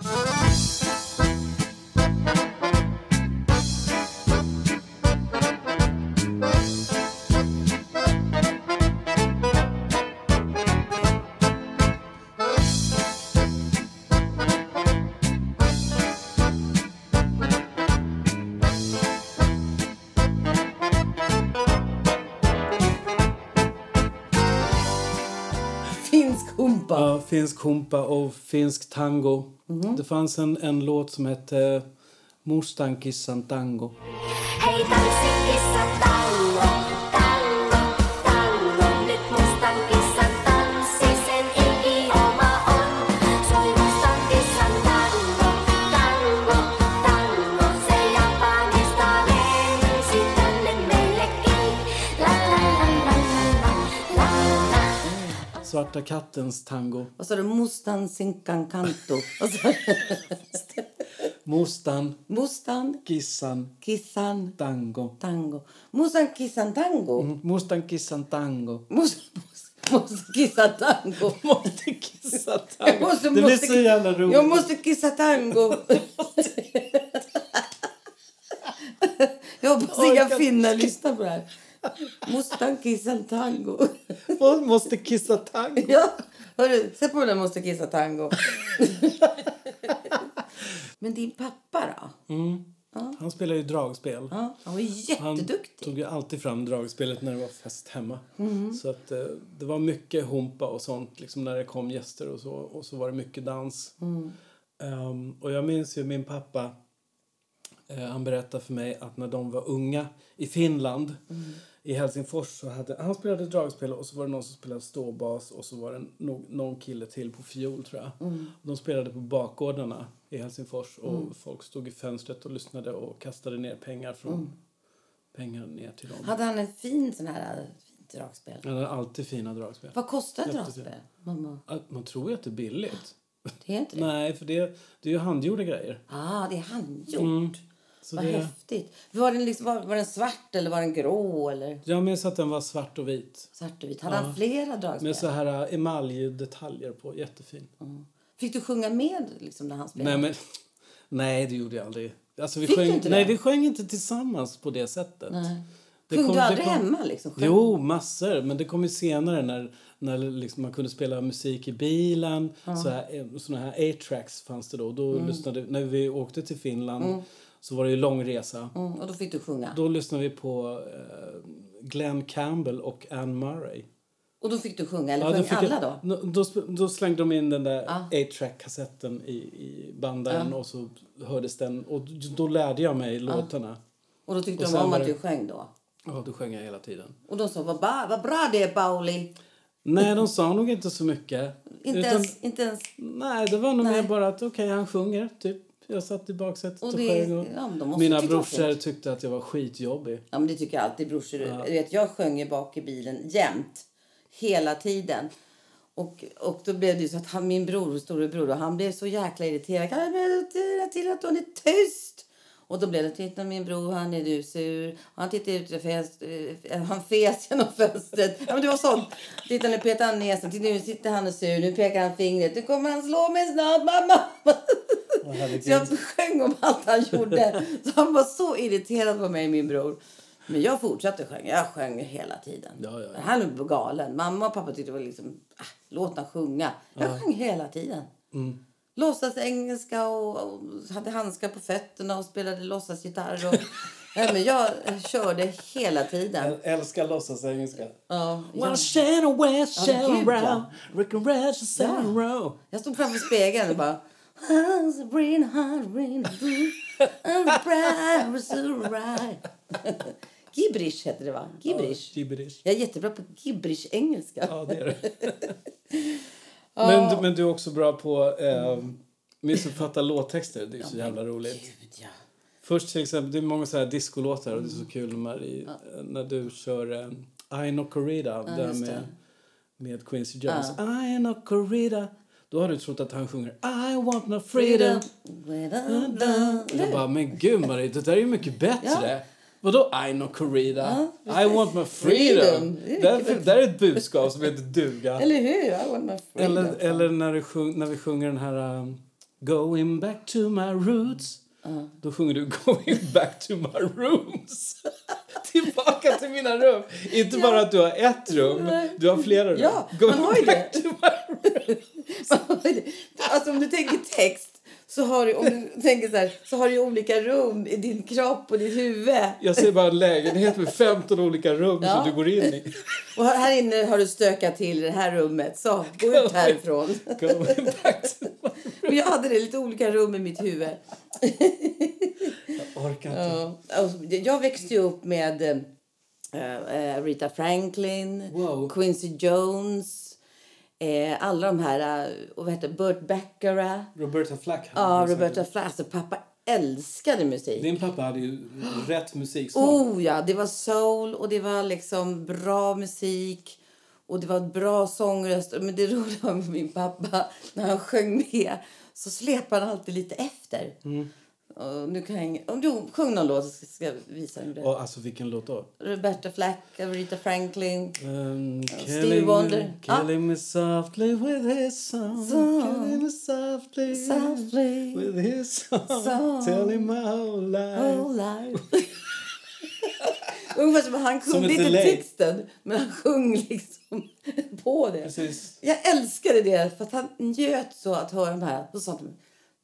Finsk humpa.
Ja, finsk humpa och finsk tango.
Mhm.
Det fanns en, en låt som hette Mustankissan tango.
Hei tanssi kissa tango, tango, tango. Nyt mustan kissan tanssi, sen ikioma on. Soi mustan kissan tango, tango, tango. Se Japanista lensi tänne meillekin. La la la la la la la la.
Svarta kattens tango.
Vad sa du? Mustan sinkan kanto. Vad sa du?
Mustan,
Mustan
kissan,
kissan
tango.
tango. Mustan kissan tango.
Mm. Mustan kissan tango.
Mus, mus, mus, kissan tango.
Måste kissa
Jag
tango.
måste,
det blir
måste,
så jävla roligt.
Jag måste kissa tango. jag hoppas inga
Orkar.
finnar lyssnar på det här. Mustan kissan tango.
Man måste kissa tango.
ja, hörru, sätt på den måste kissa tango. Men din pappa då?
Han spelar ju dragspel.
Ja, han var
Han
jätteduktig. Mm.
tog ju alltid fram dragspelet när det var fest hemma. Så att eh, det var mycket humpa och sånt liksom när det kom gäster och så. Och så var det mycket dans.
Mm.
Ehm, och jag minns ju min pappa. Eh, han berättade för mig att när de var unga i Finland. I Helsingfors så hade han spelade dragspel och så var det någon som spelade ståbas och så var det no, någon kille till på fiol tror jag.
Mm.
De spelade på bakgårdarna i Helsingfors och folk stod i fönstret och lyssnade och kastade ner pengar från pengar ner till dem.
Hade Mm. han en fin sån här äh, fint dragspel?
Han hade alltid fina dragspel.
Vad kostar ett
Jättefin.
dragspel? Mamma,
Att Man tror ju att det är billigt.
det är inte det?
Nej, för det, det är ju handgjorda grejer.
Ah, det är handgjort.
Så
Vad
Mm, det,
häftigt. Var den, liksom, var, var den svart eller var den grå? Eller
jag minns att den var svart och vit.
svart och vit? Hade han flera dragspel?
Med så här äh, emaljdetaljer på. Jättefin.
Fick du sjunga med liksom, när han spelade?
Nej, men, nej, det gjorde jag aldrig. Alltså, vi
Fick du
sjöng,
inte det?
nej, vi sjöng inte tillsammans på det sättet. Nej.
Sjöng du aldrig hemma? Liksom, själv?
Jo, massor. Men det kom ju senare när, när liksom man kunde spela musik i bilen. Så här, eh, såna här A-tracks fanns det då. då
Mm.
lyssnade, när vi åkte till Finland så var det ju lång resa.
Mm, och då fick du sjunga?
Då lyssnade vi på eh, Glenn Campbell och Anne Murray.
Och då fick du sjunga? Eller
Ja,
sjöng
fick
alla
jag-
då?
Nå- Då, sp- då slängde de in den där 8-track-kassetten i, i bandaren och så hördes den och då lärde jag mig låtarna.
Och då tyckte
Och
de
sen
om
var
att
det-
du sjöng då?
Ja, då sjöng jag hela tiden.
Och de sa vad, ba, vad bra det är Pauli.
Nej, de sa nog inte så mycket.
Inte,
Utan-
ens, inte ens...
Nej, det var nog
Nej.
mer bara att okej, han sjunger, typ. Jag satt i baksätet och,
Och det-
sjöng och
ja, men de måste
mina
tycka om
brorsor
det.
tyckte att jag var skitjobbig.
Ja men det tycker jag alltid brorsor. Du vet jag sjöng ju bak i bilen jämt. Hela tiden. Och, och då blev det ju så att han, min bror, storebror, och han blev så jäkla irriterad. Kan jag säga till att hon är tyst? Och då blev det, titta min bror, han är du sur. Och han tittade ut genom fönstret, han fes genom fönstret. Ja men det var sånt. Titta nu petar han näsan, titta nu sitter han och sur, nu pekar han fingret. Nu kommer han slå mig snart mamma. Så jag sjöng om allt han gjorde. Så han var så irriterad på mig, min bror. Men jag fortsatte sjunga. Jag sjöng hela tiden.
Ja, ja, ja.
Men Han var galen. Mamma och pappa tyckte det var liksom... Ah, låt han sjunga. Jag sjöng hela tiden. Mm. Låtsas engelska och, och hade handskar på fötterna och spelade låtsasgitarr. Och, Nej, men jag körde hela tiden.
älskar låtsasengelska.
Ja,
Well,
jag,
Shannon West,
Ja,
Shannon
gud, ja.
Brown, Rick and Rash, Shannon
Ja.
Row.
jag stod framför spegeln och bara... "Ah, Sabrina, Sabrina, du, I'm proud, I'm so right." Gibrish heter det, va? Gibrish.
Gibberish.
Jag är jättebra på gibrish-engelska.
Ja, det är det. men, du- men du är också bra på eh, missuppfatta låttexter. Det är så jävla roligt.
Gud, ja.
Först till exempel, det är många så här discolåtar och det är så kul när, i, när du kör eh, I no corrida där
just
med,
det.
med Quincy Jones. I no corrida. Då har du trott att han sjunger I want no freedom. Jag bara, men gud Marie, det där är ju mycket bättre. Vadå I no corrida? I want my freedom.
Freedom. Det är
Där,
mycket
där är ett budskap som heter duga.
Eller hur? I want my freedom.
Eller, eller när, du sjung, när vi sjunger den här um, Going back to my roots. Då sjunger du Going back to my rooms. Tillbaka till mina rum. Inte bara att du har ett rum, du har flera rum.
Ja,
Going
man har ju
back
det.
to my rooms.
alltså om du tänker text så har du, om du tänker så här, så har du ju olika rum i din kropp och ditt huvud.
Jag ser bara en lägenhet med 15 olika rum
Ja.
som du går in i.
Och här inne har du stökat till i det här rummet. Så, gå ut härifrån.
Going back to my...
Men jag hade det lite olika rum i mitt huvud.
Jag orkar inte.
Ja. Alltså, Jag växte ju upp med eh, eh, Rita Franklin,
Wow.
Quincy Jones, eh, alla de här... eh, och vad heter det? Burt Baccarat.
Roberta Flack.
Ja, Roberta Flack. Alltså, pappa älskade musik.
Din pappa hade ju rätt musiksmak.
Oh ja, det var soul och det var liksom bra musik och det var bra sångröst. Men det roliga var med min pappa, när han sjöng med så släpade han alltid lite efter. Och nu kan jag, ing- om du sjöng någon låt så ska jag visa dig.
Och alltså vilken låt då?
Roberta Flack, Rita Franklin.
Um,
Stevie
killing Me,
Wonder. Ah.
killing me softly with his song. Killing me softly,
Softly.
with his song.
Song.
Telling my whole life.
Oh, life. Ungefär som att han
Som ett
kunde inte
delay.
texten, men han sjöng liksom på det.
Precis.
Jag älskade det, för att han njöt så att höra de här. Då sa han till mig,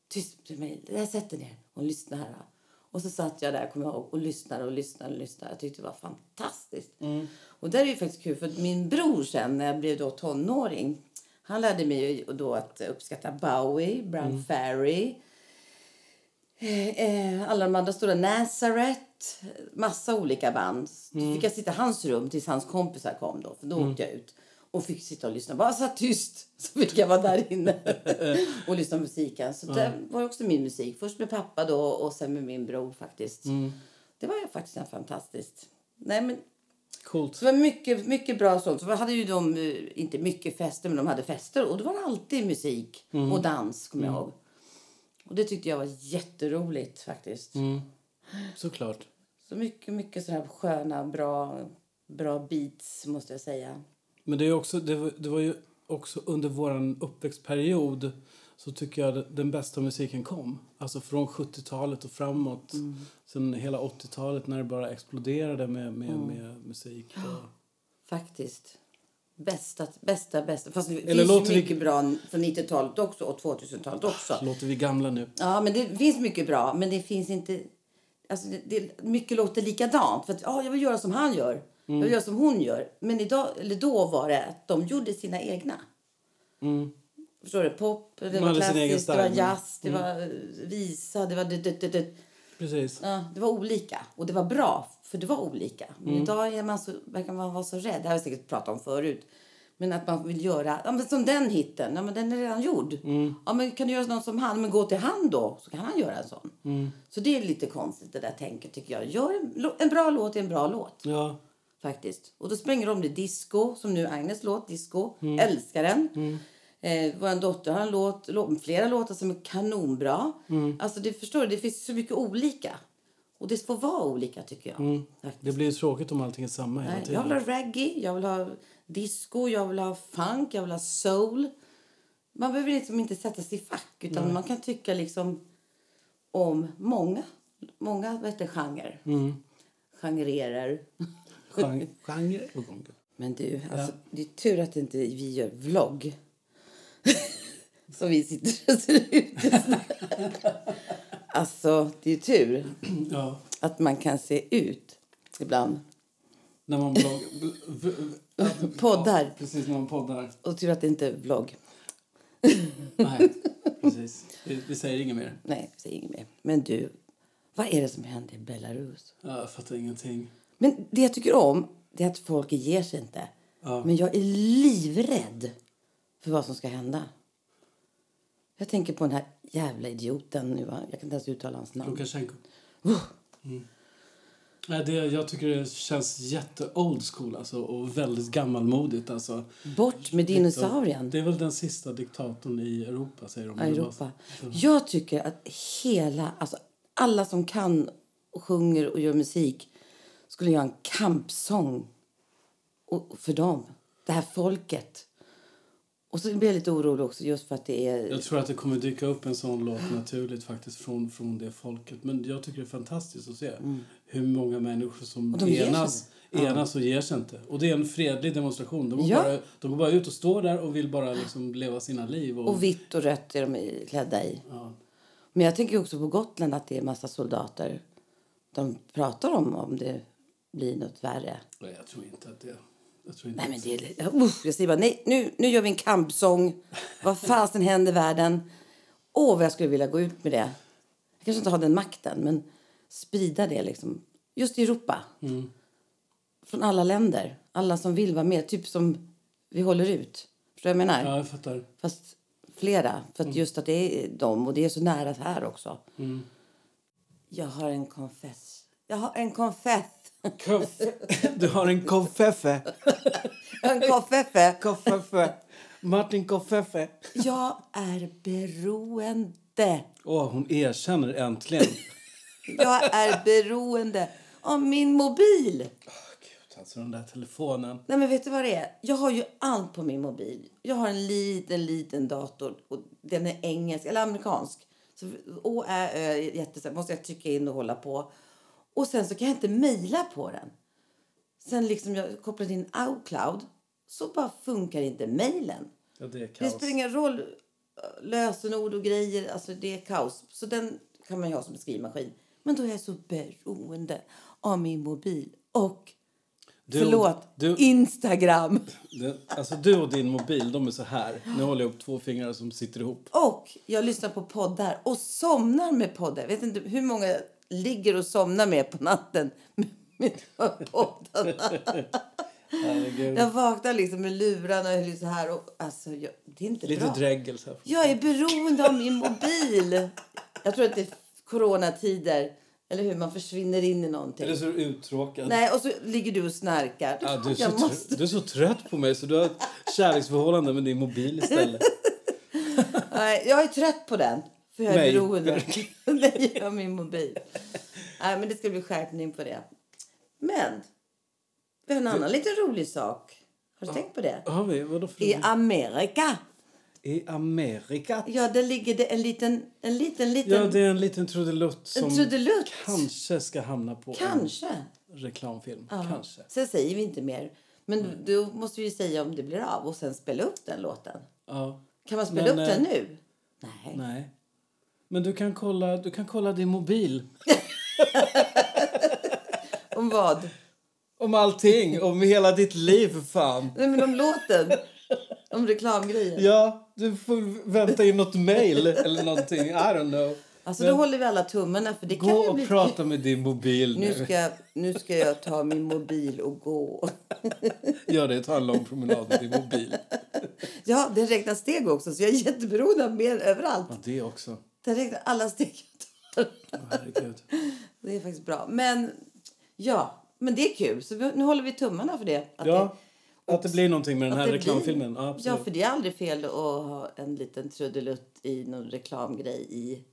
tyst till mig, jag sätter ner och lyssna här. då." Och så satt jag där kommer jag ihåg, och lyssnade och lyssnade och lyssnade. Jag tyckte det var fantastiskt.
Mm.
Och där är ju faktiskt kul för att min bror sen när jag blev då tonåring. Han lärde mig ju då att uppskatta Bowie, Brian
Mm.
Ferry. Eh, eh, alla de andra stora, Nazareth, massa olika band. Mm. fick jag sitta i hans rum tills hans kompisar kom då, för då åkte jag ut. Och fick sitta och lyssna, bara så tyst. Så fick jag vara där inne och lyssna på musiken. Så det var också min musik. Först med pappa då och sen med min bror faktiskt. Det var ju faktiskt en fantastiskt. Nej men
Coolt.
så det var mycket, mycket bra sånt. Så hade ju de, eh, inte mycket fester, men de hade fester. Och då var det alltid musik och dans, kommer jag ihåg. Och det tyckte jag var jätteroligt faktiskt.
såklart.
Så mycket, mycket så här sköna, bra, bra beats måste jag säga.
Men det, är också, det, var, det var ju också under vår uppväxtperiod så tycker jag att den bästa musiken kom. Alltså från 70-talet och framåt.
Mm.
Sen hela 80-talet när det bara exploderade med, med,
Mm.
med musik. Och...
Faktiskt. Bästa, bästa, bästa. Fast det
Eller
finns
låter Ah,
ju
vi-
mycket bra från 90-talet också och 2000-talet också.
Låter vi gamla nu?
Ja, men det finns mycket bra, men det finns inte... Alltså, det, det, mycket låter likadant. För att, ja, jag vill göra som han gör. Jag
Mm.
vill göra som hon gör. Men idag, eller då var det att de gjorde sina egna. Förstår du? Pop, det var
Mm. hade sin egen
klassiskt, det
style,
var
men- Mm.
jazz, det var eh, visa, det var... Det, det, det, det.
Precis.
Ja, det var olika. Och det var bra, för det var olika. Men idag är man så, verkar man vara så rädd. Det här har vi säkert pratat om förut. Men att man vill göra... Ja, men som den hitten. Ja, men den är redan gjord. Ja, men kan du göra någon som han? Men gå till han då, så kan han göra en sån. Så det är lite konstigt det där tänket tycker jag. Gör en, lo- en bra låt är en bra låt.
Ja.
Faktiskt. Och då spränger de det disco, som nu Agnes låt, disco. Älskar den. Eh, Vår dotter har en låt, lå- flera låtar som är kanonbra. Alltså det förstår du, det finns så mycket olika. Och det får vara olika tycker jag. Faktiskt.
Det blir ju tråkigt om allting är samma hela
Nej, jag
tiden.
vill ha reggae, jag vill ha disco, jag vill ha funk, jag vill ha soul. Man behöver liksom inte sätta sig i fack utan man kan tycka liksom om många, många vad heter det, genrer. Genererer.
Genre, genre på gång.
Men du, alltså, det är tur att inte vi gör vlogg. Som vi sitter och ser ut just nu. Alltså, det är tur
Ja.
att man kan se ut ibland.
När man bloggar... bl- v- v-
Poddar.
Ja, precis, när man poddar.
Och tur att det inte är vlogg.
Nej, precis. Vi, vi säger inget mer.
Nej, säg inget mer. Men du, vad är det som händer i Belarus?
Ja, Jag fattar ingenting.
Men det jag tycker om det är att folk ger sig inte.
Ja.
Men jag är livrädd för vad som ska hända. Jag tänker på den här jävla idioten nu. va? Jag kan inte ens uttala hans namn.
Lukasjenko. Mm. Nej, det, jag tycker det känns jätte old school alltså, och väldigt gammalmodigt. Alltså.
Bort med dinosaurien
Det är väl den sista diktatorn i Europa, säger de.
i Europa. Jag tycker att hela, alltså alla som kan och sjunger och gör musik skulle göra en kampsång och- och för dem, det här folket. Och så blir jag lite orolig också just för att det är...
Jag tror att det kommer dyka upp en sån låt naturligt faktiskt från, från det folket. Men jag tycker det är fantastiskt att se hur många människor som
Mm. de ger sig
enas, enas och ger sig inte. Och det är en fredlig demonstration. De går,
Ja.
bara, de går bara ut och står där och vill bara liksom leva sina liv. Och,
Och vitt och rött är de i- klädda i.
ja.
Men jag tänker också på Gotland att det är en massa soldater. De pratar om om det blir något värre.
Nej, Jag tror inte att det... Jag tror inte
Nej, men det är, li- usch, jag säger bara nej, nu, nu gör vi en kampsång. Vad fasen händer i världen? Åh, vad jag skulle vilja gå ut med det. Jag kanske inte har den makten, men sprida det liksom. Just i Europa. Från alla länder. Alla som vill vara med. Typ som vi håller ut. Förstår du vad jag menar?
Ja, jag fattar.
Fast flera. För att just att det är dem och det är så nära här också. Jag har en konfess. Jag har en konfess.
Du har en konfeffe.
Jag har en konfeffe.
Konfeffe. Martin Konfeffe.
Jag är beroende.
Åh, hon erkänner äntligen.
Jag är beroende av min mobil.
Gud, alltså den där telefonen.
Nej men vet du vad det är? Jag har ju allt på min mobil. Jag har en liten, liten dator. Och den är engelsk, eller amerikansk. Så Å, Ä, Ö är jättesnabbt. Måste jag trycka in och hålla på. Och sen så kan jag inte mejla på den. Sen liksom jag kopplade in Outcloud. Så bara funkar inte mejlen.
Ja, det är
Det
kaos.
spelar ingen roll eh, lösenord och grejer. Alltså det är kaos. Så den kan man ju ha som en skrivmaskin. Men då är jag så beroende av min mobil. Och
Du-
förlåt,
du-
Instagram.
Det, alltså du och din mobil, de är så här. Nu håller jag upp två fingrar som sitter ihop.
Och jag lyssnar på poddar och somnar med poddar. Jag vet inte hur många jag ligger och somnar med på natten med, med poddarna.
Herregud.
Jag vaknar liksom med lurarna och höll så här. Och, alltså, jag, det är inte
Lite alltså.
bra.
dregel så här.
Jag är beroende av min mobil. Jag tror att det är coronatider. Eller hur? Man försvinner in i någonting.
Eller så är du uttråkad.
Nej, och så ligger du och snarkar.
Ja, du, är så
jag måste...
trö- du är så trött på mig så du har ett kärleksförhållande med din mobil istället.
Nej, jag är trött på den. För jag är
Mig.
beroende. Nej, jag har min mobil. Nej, men det ska bli skärpning på det. Men, vi har en annan liten rolig sak. Har du tänkt på det?
Har vi? Vadå för
I Amerika,
I Amerika?
ja, där ligger det en liten, en liten, liten...
Ja, det är en liten trudelutt som
En trudelutt.
kanske ska hamna på
Kanske.
en reklamfilm.
Ja.
Kanske.
Sen säger vi inte mer. Men då måste vi ju säga om det blir av och sen spela upp den låten.
Ja.
Kan man spela
Men,
upp
eh,
den nu? Nej.
Nej. Men du kan kolla, du kan kolla din mobil.
Om vad?
Om allting, om hela ditt liv för fan.
Nej, men om låten. om reklamgrejen.
Ja, du får vänta in något mail eller någonting. I don't know.
Alltså,
Men
då håller vi alla tummarna för det kan
Gå
ju
och
bli...
prata med din mobil nu.
Nu ska, nu ska jag ta min mobil och gå.
Gör det, ta en lång promenad med din mobil.
Ja, den räknar steg också, så jag är jätteberoende av mer överallt.
Ja, det också.
Den räknar alla steg jag tar.
Åh, Herregud.
Det är faktiskt bra. Men ja, men det är kul. Så vi, nu håller vi tummarna för det. Att
Ja, att det blir någonting med
det,
den
att
här
det blir-
reklamfilmen. Ja, absolut.
Ja, för det är aldrig fel att ha en liten trudelutt i någon reklamgrej i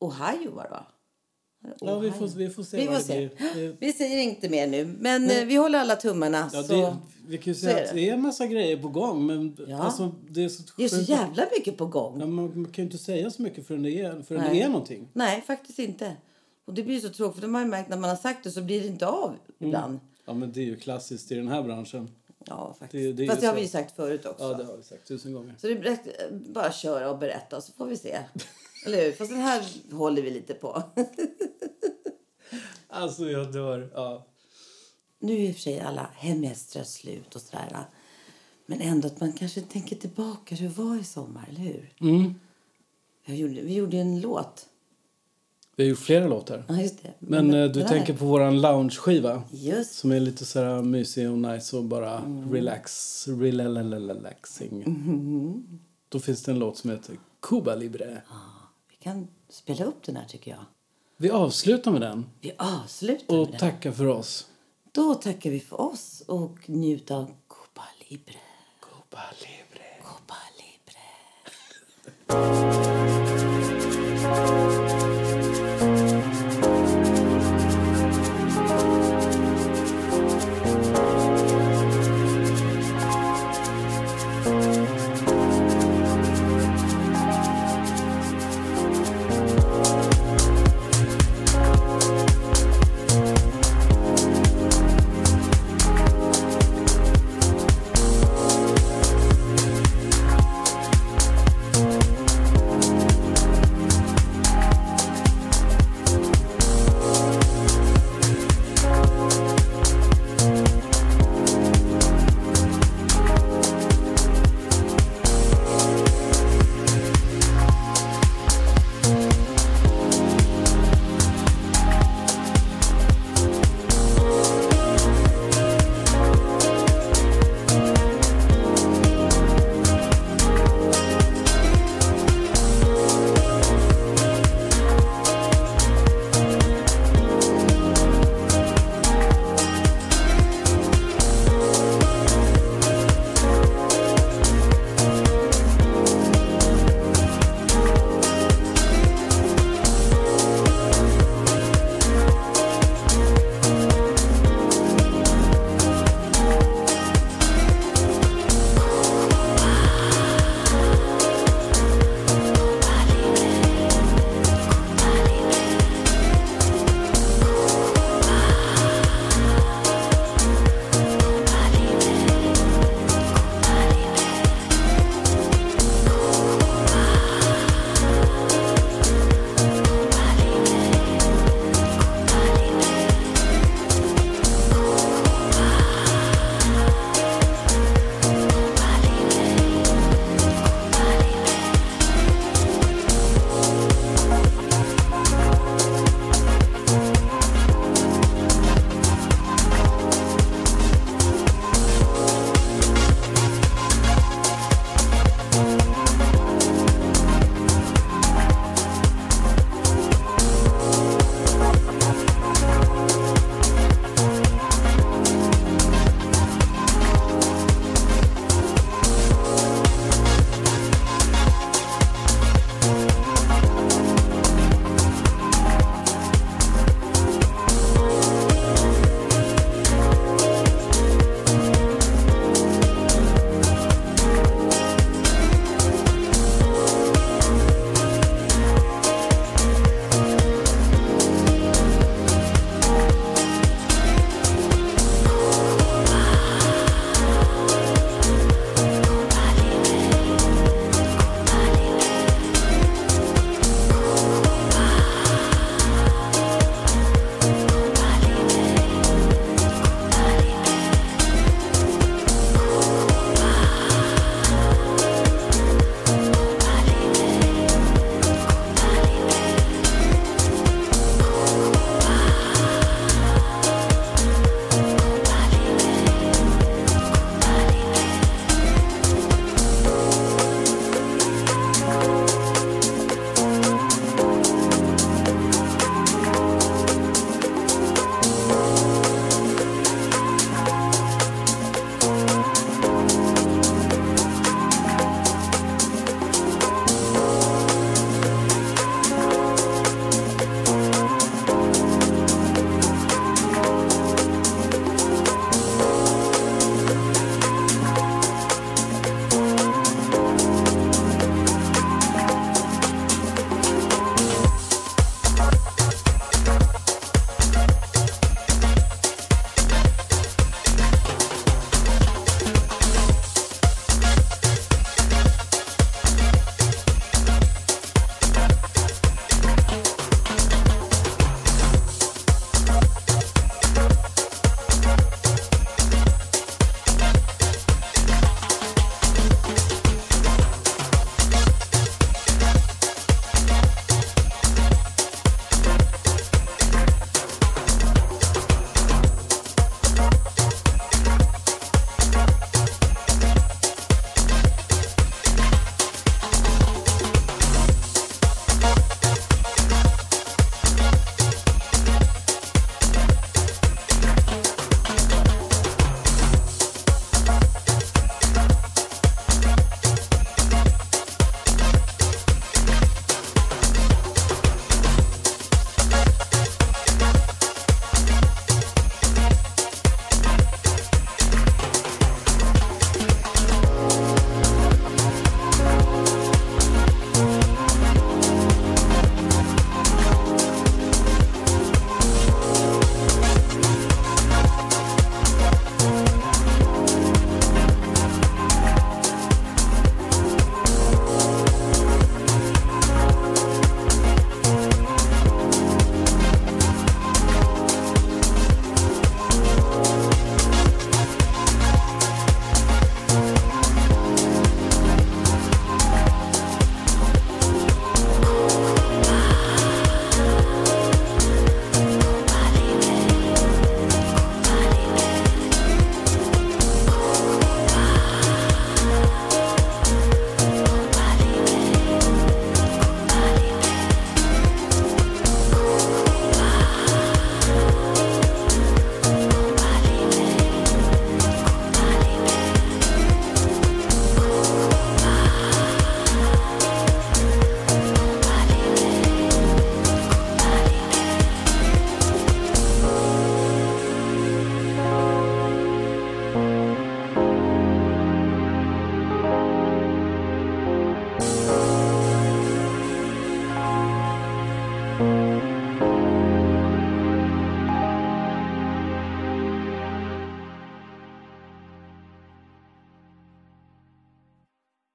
Ohio, var det va?
Ja, vi får,
Ohio.
vi får se
Vi
vad
får
det
se.
blir. Det-
Vi säger inte mer nu, men eh, vi håller alla tummarna.
Ja,
så...
det, vi kan ju
så
säga
är
att
det.
det är en massa grejer på gång, men
Ja.
alltså, det är så
Det är så
skönt-
jävla mycket på gång.
Ja, man, man kan ju inte säga så mycket förrän det är, förrän
Nej.
det är någonting.
Nej, faktiskt inte. Och det blir ju så tråkigt, för de har ju märkt när man har sagt det så blir det inte av
Mm.
ibland.
Ja, men det är ju klassiskt i den här branschen.
Ja, faktiskt.
Det- det är
Fast
ju
det har
så.
vi ju sagt förut också.
Ja, det har vi sagt tusen gånger.
Så det är rätt- bara köra och berätta så får vi se. Eller hur? Fast den här håller vi lite på.
Alltså, jag dör. Ja.
Nu är i och för sig alla hemgäster slut och sådär. Men ändå att man kanske tänker tillbaka hur det var i sommar, eller hur?
Mm.
Jag gjorde, vi gjorde ju en låt.
Vi har gjort flera låtar.
Ja, just det.
Men eh, du
den här-
tänker på våran loungeskiva
Just
som är lite så här mysig och nice och bara relax, relaxing. Då finns det en låt som heter Cuba Libre.
Vi kan spela upp den här tycker jag.
Vi avslutar med den
Vi avslutar med
och
den.
tackar för oss.
Då tackar vi för oss och njut av Copa Libre.
Cuba Libre.
Copa Libre.